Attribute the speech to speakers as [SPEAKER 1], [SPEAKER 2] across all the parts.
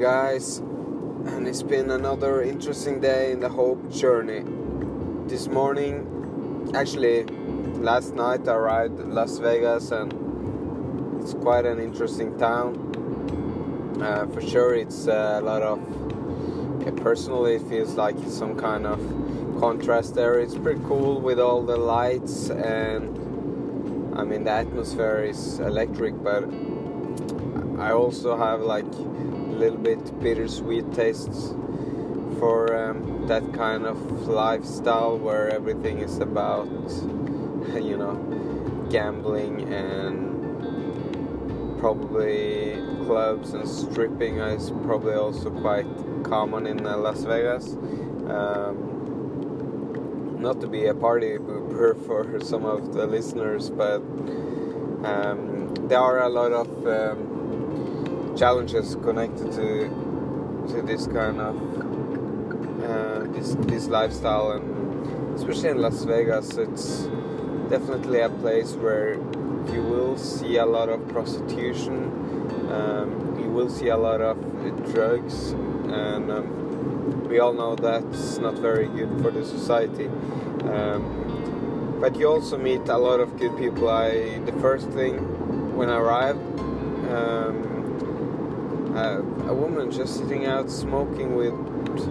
[SPEAKER 1] guys, and it's been another interesting day in the Hope Journey. This morning, actually, last night I arrived in Las Vegas, and it's quite an interesting town. Uh, for sure, it's uh, a lot of. yeah, personally, it feels like it's some kind of contrast there. It's pretty cool with all the lights, and I mean, the atmosphere is electric, but I also have like a little bit bittersweet tastes for um, that kind of lifestyle where everything is about, you know, gambling and probably clubs and stripping is probably also quite common in uh, Las Vegas. Um, not to be a party pooper for some of the listeners, but um, there are a lot of um, challenges connected to to this kind of uh, this this lifestyle, and especially in Las Vegas, it's definitely a place where you will see a lot of prostitution. Um, you will see a lot of uh, drugs, and um, we all know that's not very good for the society. Um, but you also meet a lot of good people. I the first thing when I arrived, um, uh, a woman just sitting out smoking with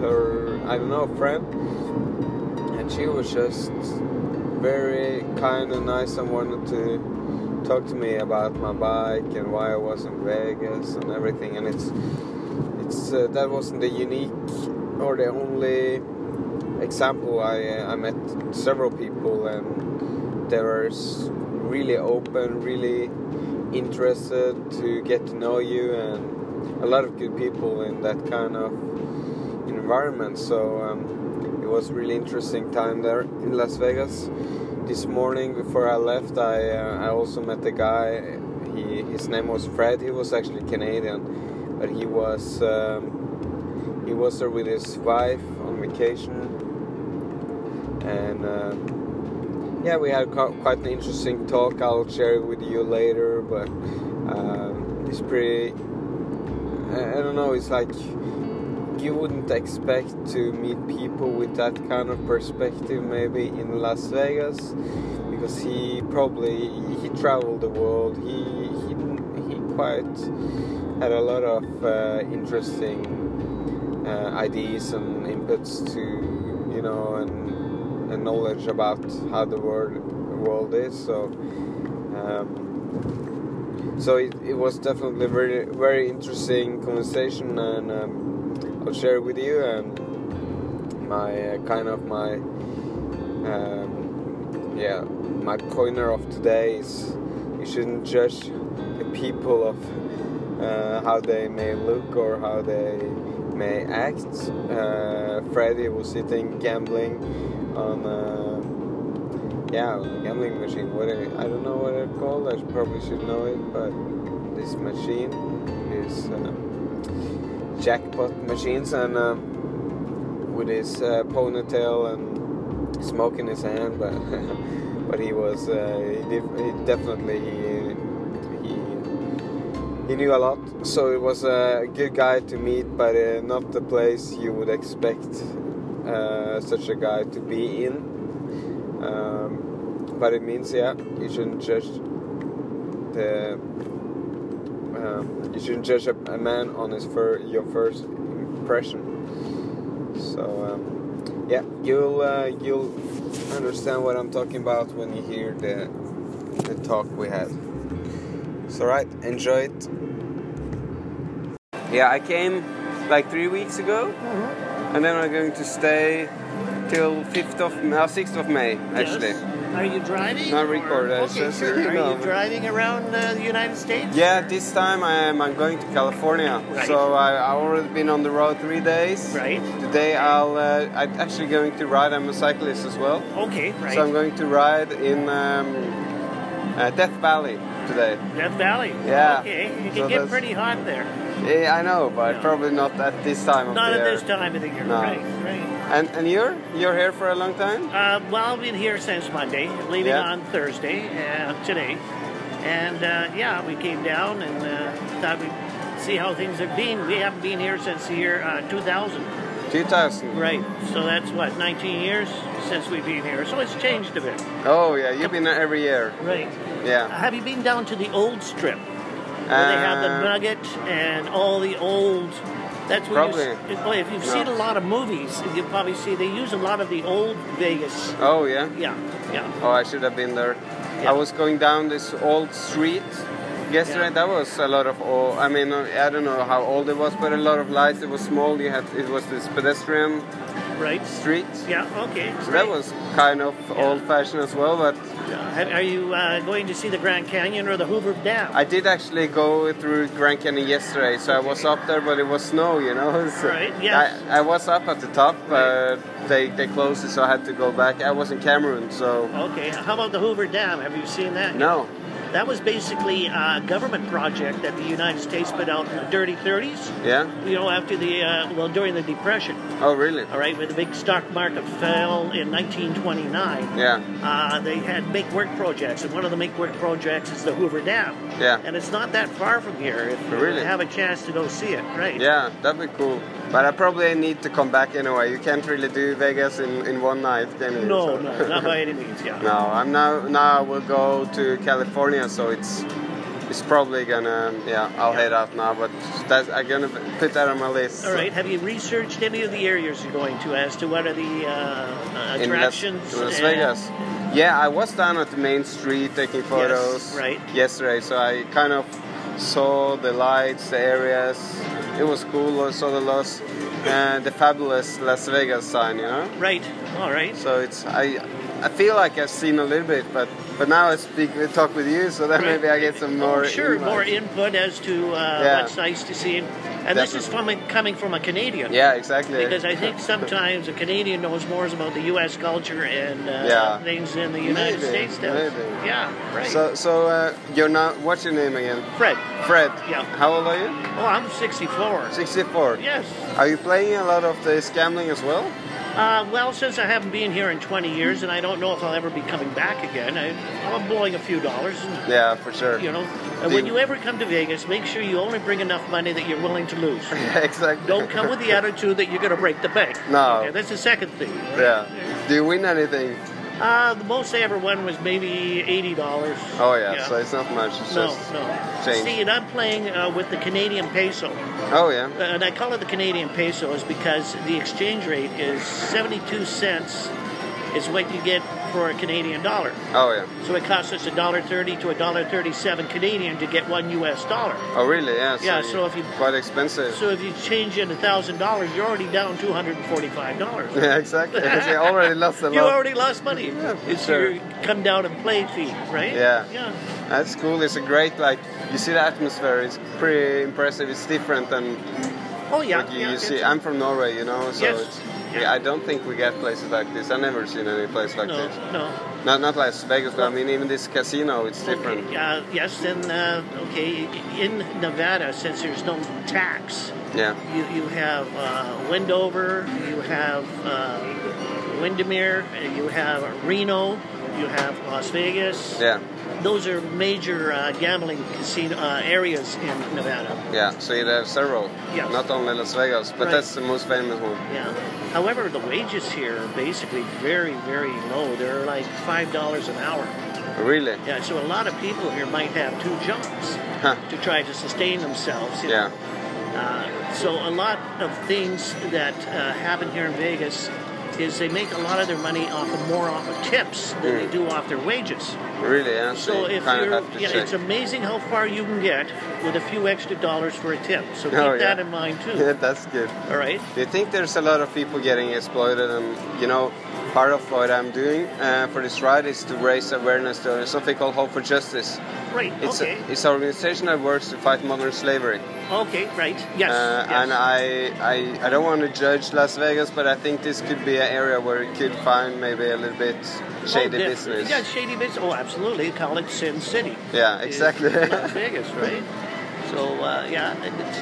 [SPEAKER 1] her I don't know friend, and she was just very kind and nice and wanted to talk to me about my bike and why I was in Vegas and everything. And it's it's uh, that wasn't the unique or the only example. I uh, I met several people and they were s- really open, really interested to get to know you, and a lot of good people in that kind of environment. So um, it was really interesting time there in Las Vegas. This morning before I left, I uh, I also met a guy. He his name was Fred. He was actually Canadian, but he was. Um, he was there with his wife on vacation and uh, yeah we had co- quite an interesting talk i'll share it with you later but um, it's pretty I, I don't know it's like you wouldn't expect to meet people with that kind of perspective maybe in las vegas because he probably he traveled the world he he, he quite had a lot of uh, interesting uh, ideas and inputs to you know and, and knowledge about how the world world is so um, so it, it was definitely a very very interesting conversation and um, I'll share it with you and my uh, kind of my um, yeah my pointer of today is you shouldn't judge the people of uh, how they may look or how they may act. Uh, Freddy was sitting gambling on a, yeah, on a gambling machine. What it- I don't know what it's called. I probably should know it, but this machine is uh, jackpot machines and um, with his uh, ponytail and smoke in his hand, but but he was uh, he, def- he definitely he, he he knew a lot, so it was a good guy to meet, but uh, not the place you would expect uh, such a guy to be in. Um, but it means, yeah, you shouldn't judge the um, you shouldn't judge a, a man on his fir- your first impression. So um, yeah, you'll uh, you'll understand what I'm talking about when you hear the the talk we had. So right, enjoy it. Yeah, I came like three weeks ago, and then I'm going to stay till fifth of uh, sixth of May actually.
[SPEAKER 2] Yes. Are you driving?
[SPEAKER 1] Not
[SPEAKER 2] or-
[SPEAKER 1] recorded, it's
[SPEAKER 2] Okay,
[SPEAKER 1] just-
[SPEAKER 2] sure. Are
[SPEAKER 1] no.
[SPEAKER 2] you driving around uh, the United States?
[SPEAKER 1] Yeah, this time I am, I'm going to California.
[SPEAKER 2] Right.
[SPEAKER 1] So I, I already been on the road three days.
[SPEAKER 2] Right.
[SPEAKER 1] Today I'll uh, I'm actually going to ride. I'm a cyclist as well,
[SPEAKER 2] Okay, right.
[SPEAKER 1] so I'm going to ride in um, uh, Death Valley today.
[SPEAKER 2] Death Valley.
[SPEAKER 1] Yeah.
[SPEAKER 2] Okay, you can
[SPEAKER 1] So
[SPEAKER 2] get
[SPEAKER 1] that's-
[SPEAKER 2] pretty hot there.
[SPEAKER 1] Yeah, I know, but
[SPEAKER 2] No.
[SPEAKER 1] probably not at this time of
[SPEAKER 2] Not
[SPEAKER 1] the
[SPEAKER 2] at
[SPEAKER 1] year.
[SPEAKER 2] this time of the year.
[SPEAKER 1] No.
[SPEAKER 2] Right, right.
[SPEAKER 1] And and you're you're here for a long time.
[SPEAKER 2] Uh, well, I've been here since Monday, leaving
[SPEAKER 1] Yeah.
[SPEAKER 2] on Thursday, uh, today. And uh, yeah, we came down and uh, thought we'd see how things have been. We haven't been here since the year uh, 2000.
[SPEAKER 1] 2000.
[SPEAKER 2] Right. So that's what 19 years since we've been here. So it's changed a bit.
[SPEAKER 1] Oh yeah, you've been there every year.
[SPEAKER 2] Right.
[SPEAKER 1] Yeah.
[SPEAKER 2] Have you been down to the old strip? Where they have the
[SPEAKER 1] Uh,
[SPEAKER 2] nugget and all the old. That's where you.
[SPEAKER 1] Probably.
[SPEAKER 2] s- Well, if you've
[SPEAKER 1] No.
[SPEAKER 2] seen a lot of movies, you probably see they use a lot of the old Vegas.
[SPEAKER 1] Oh yeah.
[SPEAKER 2] Yeah, yeah.
[SPEAKER 1] Oh, I should have been there.
[SPEAKER 2] Yeah.
[SPEAKER 1] I was going down this old street yesterday.
[SPEAKER 2] Yeah.
[SPEAKER 1] That was a lot of old. I mean, uh, I don't know how old it was, but a lot of lights. It was small. You had it was this pedestrian
[SPEAKER 2] Right.
[SPEAKER 1] street.
[SPEAKER 2] Yeah. Okay.
[SPEAKER 1] So
[SPEAKER 2] great.
[SPEAKER 1] that was kind of old-fashioned as well. But
[SPEAKER 2] Yeah. Have- Are you uh, going to see the Grand Canyon or the Hoover Dam?
[SPEAKER 1] I did actually go through Grand Canyon yesterday, so I was up there, but it was snow, you know. So
[SPEAKER 2] Right, yes.
[SPEAKER 1] I, I was up at the top, but they they closed it, so I had to go back. I was in Cameroon, so
[SPEAKER 2] Okay. How about the Hoover Dam? Have you seen that?
[SPEAKER 1] no.
[SPEAKER 2] That was basically a government project that the United States put out in the dirty 30s.
[SPEAKER 1] Yeah.
[SPEAKER 2] You know, after the uh, well, during the Depression.
[SPEAKER 1] Oh, really?
[SPEAKER 2] All right, when the big stock market fell in 1929.
[SPEAKER 1] Yeah.
[SPEAKER 2] Uh, they had make work projects, and one of the make work projects is the Hoover Dam.
[SPEAKER 1] Yeah.
[SPEAKER 2] And it's not that far from here if
[SPEAKER 1] Really?
[SPEAKER 2] you have a chance to go see it, right?
[SPEAKER 1] Yeah, that'd be cool. But I probably need to come back anyway. You can't really do Vegas in, in one night, can you?
[SPEAKER 2] No,
[SPEAKER 1] So-
[SPEAKER 2] no, not by any means, yeah.
[SPEAKER 1] no, I'm now now I will go to California, so it's it's probably gonna yeah. I'll head out now, but that's I'm gonna put that on my list.
[SPEAKER 2] All right. Have you researched any of the areas you're going to as to what are the uh,
[SPEAKER 1] In Las,
[SPEAKER 2] attractions?
[SPEAKER 1] Las
[SPEAKER 2] and-
[SPEAKER 1] Vegas. Yeah, I was down at the main street taking photos
[SPEAKER 2] right.
[SPEAKER 1] yesterday, so I kind of saw the lights, the areas. It was cool. I saw the Los, uh, the fabulous Las Vegas sign, you know.
[SPEAKER 2] Right. All right.
[SPEAKER 1] So it's I I feel like I've seen a little bit, but but now I speak talk with you, so then
[SPEAKER 2] Right.
[SPEAKER 1] maybe I get some more.
[SPEAKER 2] Oh, sure,
[SPEAKER 1] insights.
[SPEAKER 2] more input as to uh,
[SPEAKER 1] Yeah.
[SPEAKER 2] what's nice to see. And this is from a, coming from a Canadian.
[SPEAKER 1] Yeah, exactly.
[SPEAKER 2] Because I think sometimes a Canadian knows more about the U.S. culture and uh,
[SPEAKER 1] Yeah.
[SPEAKER 2] things in the United
[SPEAKER 1] Maybe,
[SPEAKER 2] States does.
[SPEAKER 1] maybe.
[SPEAKER 2] Yeah, right.
[SPEAKER 1] So so uh, you're now what's your name again?
[SPEAKER 2] Fred,
[SPEAKER 1] Fred.
[SPEAKER 2] Yeah.
[SPEAKER 1] How old are you?
[SPEAKER 2] oh, I'm 64.
[SPEAKER 1] Sixty-four.
[SPEAKER 2] Yes.
[SPEAKER 1] Are you playing a lot of this gambling as well?
[SPEAKER 2] Uh, well, since I haven't been here in 20 years, and I don't know if I'll ever be coming back again, I, I'm blowing a few dollars. And,
[SPEAKER 1] Yeah, for sure.
[SPEAKER 2] you know, and
[SPEAKER 1] Do
[SPEAKER 2] when
[SPEAKER 1] you-
[SPEAKER 2] you ever come to Vegas, make sure you only bring enough money that you're willing to lose.
[SPEAKER 1] exactly.
[SPEAKER 2] Don't come with the attitude that you're going to break the bank.
[SPEAKER 1] No.
[SPEAKER 2] Okay, that's the second thing.
[SPEAKER 1] Yeah. Do you win anything?
[SPEAKER 2] Uh, the most I ever won was maybe eighty dollars.
[SPEAKER 1] Oh yeah, So it's not much. It's
[SPEAKER 2] no,
[SPEAKER 1] just
[SPEAKER 2] no.
[SPEAKER 1] change.
[SPEAKER 2] See, and I'm playing uh, with the Canadian peso,
[SPEAKER 1] Oh yeah.
[SPEAKER 2] Uh, and I call it the Canadian peso is because the exchange rate is seventy-two cents is what you get for a Canadian dollar.
[SPEAKER 1] Oh yeah.
[SPEAKER 2] So it costs us a dollar thirty to a dollar thirty-seven Canadian to get one U.S. dollar.
[SPEAKER 1] Oh really? Yeah. So
[SPEAKER 2] Yeah, so if you-
[SPEAKER 1] quite expensive.
[SPEAKER 2] So if you change in thousand dollars, you're already down two hundred and forty-five dollars.
[SPEAKER 1] yeah, exactly. Because you already lost a
[SPEAKER 2] You
[SPEAKER 1] lot.
[SPEAKER 2] already lost money.
[SPEAKER 1] Yeah, for
[SPEAKER 2] it's
[SPEAKER 1] sure.
[SPEAKER 2] your come down and play fee, right?
[SPEAKER 1] Yeah.
[SPEAKER 2] Yeah.
[SPEAKER 1] That's cool. It's a great like you see the atmosphere. It's pretty impressive. It's different than
[SPEAKER 2] Oh yeah.
[SPEAKER 1] what you,
[SPEAKER 2] yeah,
[SPEAKER 1] you see.
[SPEAKER 2] it's-
[SPEAKER 1] I'm from Norway, you know, so
[SPEAKER 2] Yes.
[SPEAKER 1] it's,
[SPEAKER 2] Yeah.
[SPEAKER 1] yeah, I don't think we get places like this. I never seen any place like
[SPEAKER 2] no,
[SPEAKER 1] this.
[SPEAKER 2] no.
[SPEAKER 1] Not not Las Vegas, but I mean even this casino. It's different.
[SPEAKER 2] Okay, uh, yes, and uh, okay, in Nevada, since there's no tax,
[SPEAKER 1] Yeah.
[SPEAKER 2] you, you have uh, Wendover, you have uh, Windermere, and you have Reno, you have Las Vegas.
[SPEAKER 1] Yeah.
[SPEAKER 2] Those are major uh, gambling casino uh, areas in Nevada.
[SPEAKER 1] Yeah, so you have several.
[SPEAKER 2] Yes.
[SPEAKER 1] Not only Las Vegas, but
[SPEAKER 2] Right.
[SPEAKER 1] that's the most famous one.
[SPEAKER 2] Yeah. However, the wages here are basically very, very low. They're like five dollars an hour.
[SPEAKER 1] Really?
[SPEAKER 2] Yeah. So a lot of people here might have two jobs
[SPEAKER 1] Huh.
[SPEAKER 2] to try to sustain themselves. you
[SPEAKER 1] Yeah.
[SPEAKER 2] know. Uh, so a lot of things that uh, happen here in Vegas is they make a lot of their money off of more off of tips than they do off their wages.
[SPEAKER 1] Really, yeah.
[SPEAKER 2] So
[SPEAKER 1] you
[SPEAKER 2] if
[SPEAKER 1] kind
[SPEAKER 2] you're,
[SPEAKER 1] of Mm. have to
[SPEAKER 2] yeah,
[SPEAKER 1] check.
[SPEAKER 2] it's amazing how far you can get with a few extra dollars for a tip. So keep
[SPEAKER 1] Oh, yeah.
[SPEAKER 2] that in mind too.
[SPEAKER 1] yeah, that's good.
[SPEAKER 2] All right.
[SPEAKER 1] Do you think there's a lot of people getting exploited? And you know, part of what I'm doing uh, for this ride is to raise awareness to something called Hope for Justice.
[SPEAKER 2] Right.
[SPEAKER 1] It's
[SPEAKER 2] okay.
[SPEAKER 1] a, it's an organization that works to fight modern slavery.
[SPEAKER 2] Okay, right. Yes.
[SPEAKER 1] Uh,
[SPEAKER 2] yes.
[SPEAKER 1] And I, I I don't want to judge Las Vegas, but I think this could be an area where you could find maybe a little bit shady
[SPEAKER 2] Oh, def-
[SPEAKER 1] business.
[SPEAKER 2] Yeah, shady business. Oh, absolutely. Call it Sin City.
[SPEAKER 1] Yeah, exactly.
[SPEAKER 2] It's Las Vegas, right? So, uh, yeah. It's,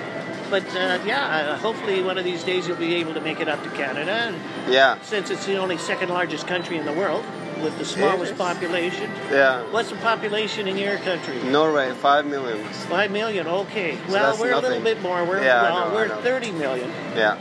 [SPEAKER 2] but, uh, yeah, uh, hopefully one of these days you'll be able to make it up to Canada. And
[SPEAKER 1] Yeah.
[SPEAKER 2] since it's the only second largest country in the world, with the
[SPEAKER 1] It
[SPEAKER 2] smallest
[SPEAKER 1] is.
[SPEAKER 2] population.
[SPEAKER 1] Yeah.
[SPEAKER 2] What's the population in your country?
[SPEAKER 1] Norway, five million.
[SPEAKER 2] Five million. Okay.
[SPEAKER 1] So
[SPEAKER 2] well,
[SPEAKER 1] that's
[SPEAKER 2] we're a
[SPEAKER 1] nothing.
[SPEAKER 2] little bit more. We're
[SPEAKER 1] Yeah, I
[SPEAKER 2] well,
[SPEAKER 1] know, I
[SPEAKER 2] we're
[SPEAKER 1] know.
[SPEAKER 2] thirty million
[SPEAKER 1] Yeah.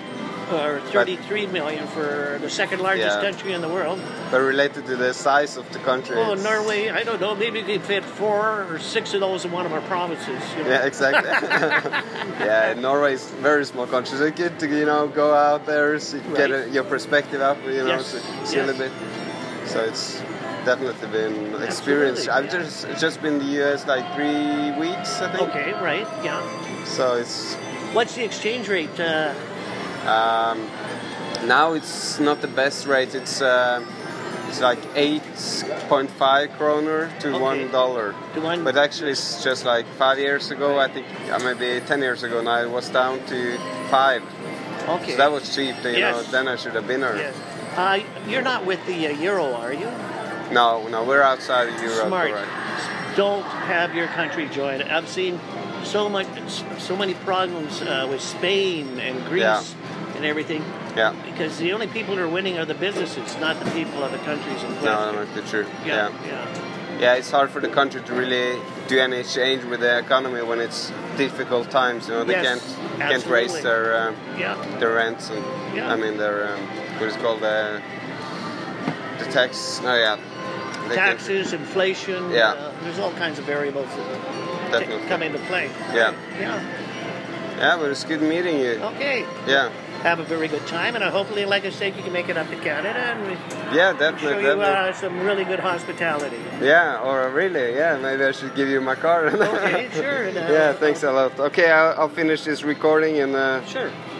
[SPEAKER 2] or thirty-three million for the second largest
[SPEAKER 1] Yeah.
[SPEAKER 2] country in the world.
[SPEAKER 1] But related to the size of the country.
[SPEAKER 2] Oh,
[SPEAKER 1] it's-
[SPEAKER 2] Norway. I don't know. Maybe we could fit four or six of those in one of our provinces. You know?
[SPEAKER 1] Yeah, exactly. yeah, Norway is very small country. So good to you know go out there, see, get
[SPEAKER 2] Right.
[SPEAKER 1] a, your perspective up, you know,
[SPEAKER 2] Yes,
[SPEAKER 1] to see a
[SPEAKER 2] yes.
[SPEAKER 1] little bit. So it's definitely been experience.
[SPEAKER 2] Absolutely,
[SPEAKER 1] I've
[SPEAKER 2] yeah.
[SPEAKER 1] just just been in the US like three weeks, I think.
[SPEAKER 2] Okay. Right. Yeah.
[SPEAKER 1] So it's
[SPEAKER 2] What's the exchange rate? Uh,
[SPEAKER 1] um, now it's not the best rate. It's uh, it's like eight point five kroner to
[SPEAKER 2] Okay.
[SPEAKER 1] one dollar.
[SPEAKER 2] To one-
[SPEAKER 1] But actually, it's just like five years ago. I think uh, maybe ten years ago now it was down to five.
[SPEAKER 2] okay.
[SPEAKER 1] So that was cheap. You know,
[SPEAKER 2] Yes.
[SPEAKER 1] then I should have been there.
[SPEAKER 2] Yes. Uh, you're not with the uh, euro, are you?
[SPEAKER 1] No, no, we're outside of Europe.
[SPEAKER 2] Smart.
[SPEAKER 1] correct.
[SPEAKER 2] Don't have your country join. it. I've seen so much, so many problems uh, with Spain and Greece and everything
[SPEAKER 1] Yeah.
[SPEAKER 2] because the only people who are winning are the businesses, not the people of the countries in question.
[SPEAKER 1] No, that might be true.
[SPEAKER 2] yeah,
[SPEAKER 1] yeah.
[SPEAKER 2] yeah, yeah,
[SPEAKER 1] Yeah, it's hard for the country to really do any change with the economy when it's difficult times. You know, they
[SPEAKER 2] Yes,
[SPEAKER 1] can't can't raise
[SPEAKER 2] absolutely.
[SPEAKER 1] their um,
[SPEAKER 2] yeah,
[SPEAKER 1] their rents and
[SPEAKER 2] Yeah.
[SPEAKER 1] I mean their um, what is it called the the tax. Oh yeah, They can't-
[SPEAKER 2] Taxes, inflation.
[SPEAKER 1] Yeah.
[SPEAKER 2] Uh, there's all kinds of variables that uh,
[SPEAKER 1] Definitely.
[SPEAKER 2] come into play.
[SPEAKER 1] Yeah,
[SPEAKER 2] Yeah.
[SPEAKER 1] yeah, but it's good meeting you.
[SPEAKER 2] Okay.
[SPEAKER 1] Yeah,
[SPEAKER 2] Have a very good time, and I hopefully, like I said, you can make it up to Canada and we
[SPEAKER 1] yeah,
[SPEAKER 2] show
[SPEAKER 1] definitely.
[SPEAKER 2] you
[SPEAKER 1] definitely.
[SPEAKER 2] uh, some really good hospitality.
[SPEAKER 1] Yeah, or really, yeah, maybe I should give you my card.
[SPEAKER 2] Okay, sure. and, uh,
[SPEAKER 1] yeah, thanks a lot. Okay, I'll, I'll finish this recording and uh,
[SPEAKER 2] Sure.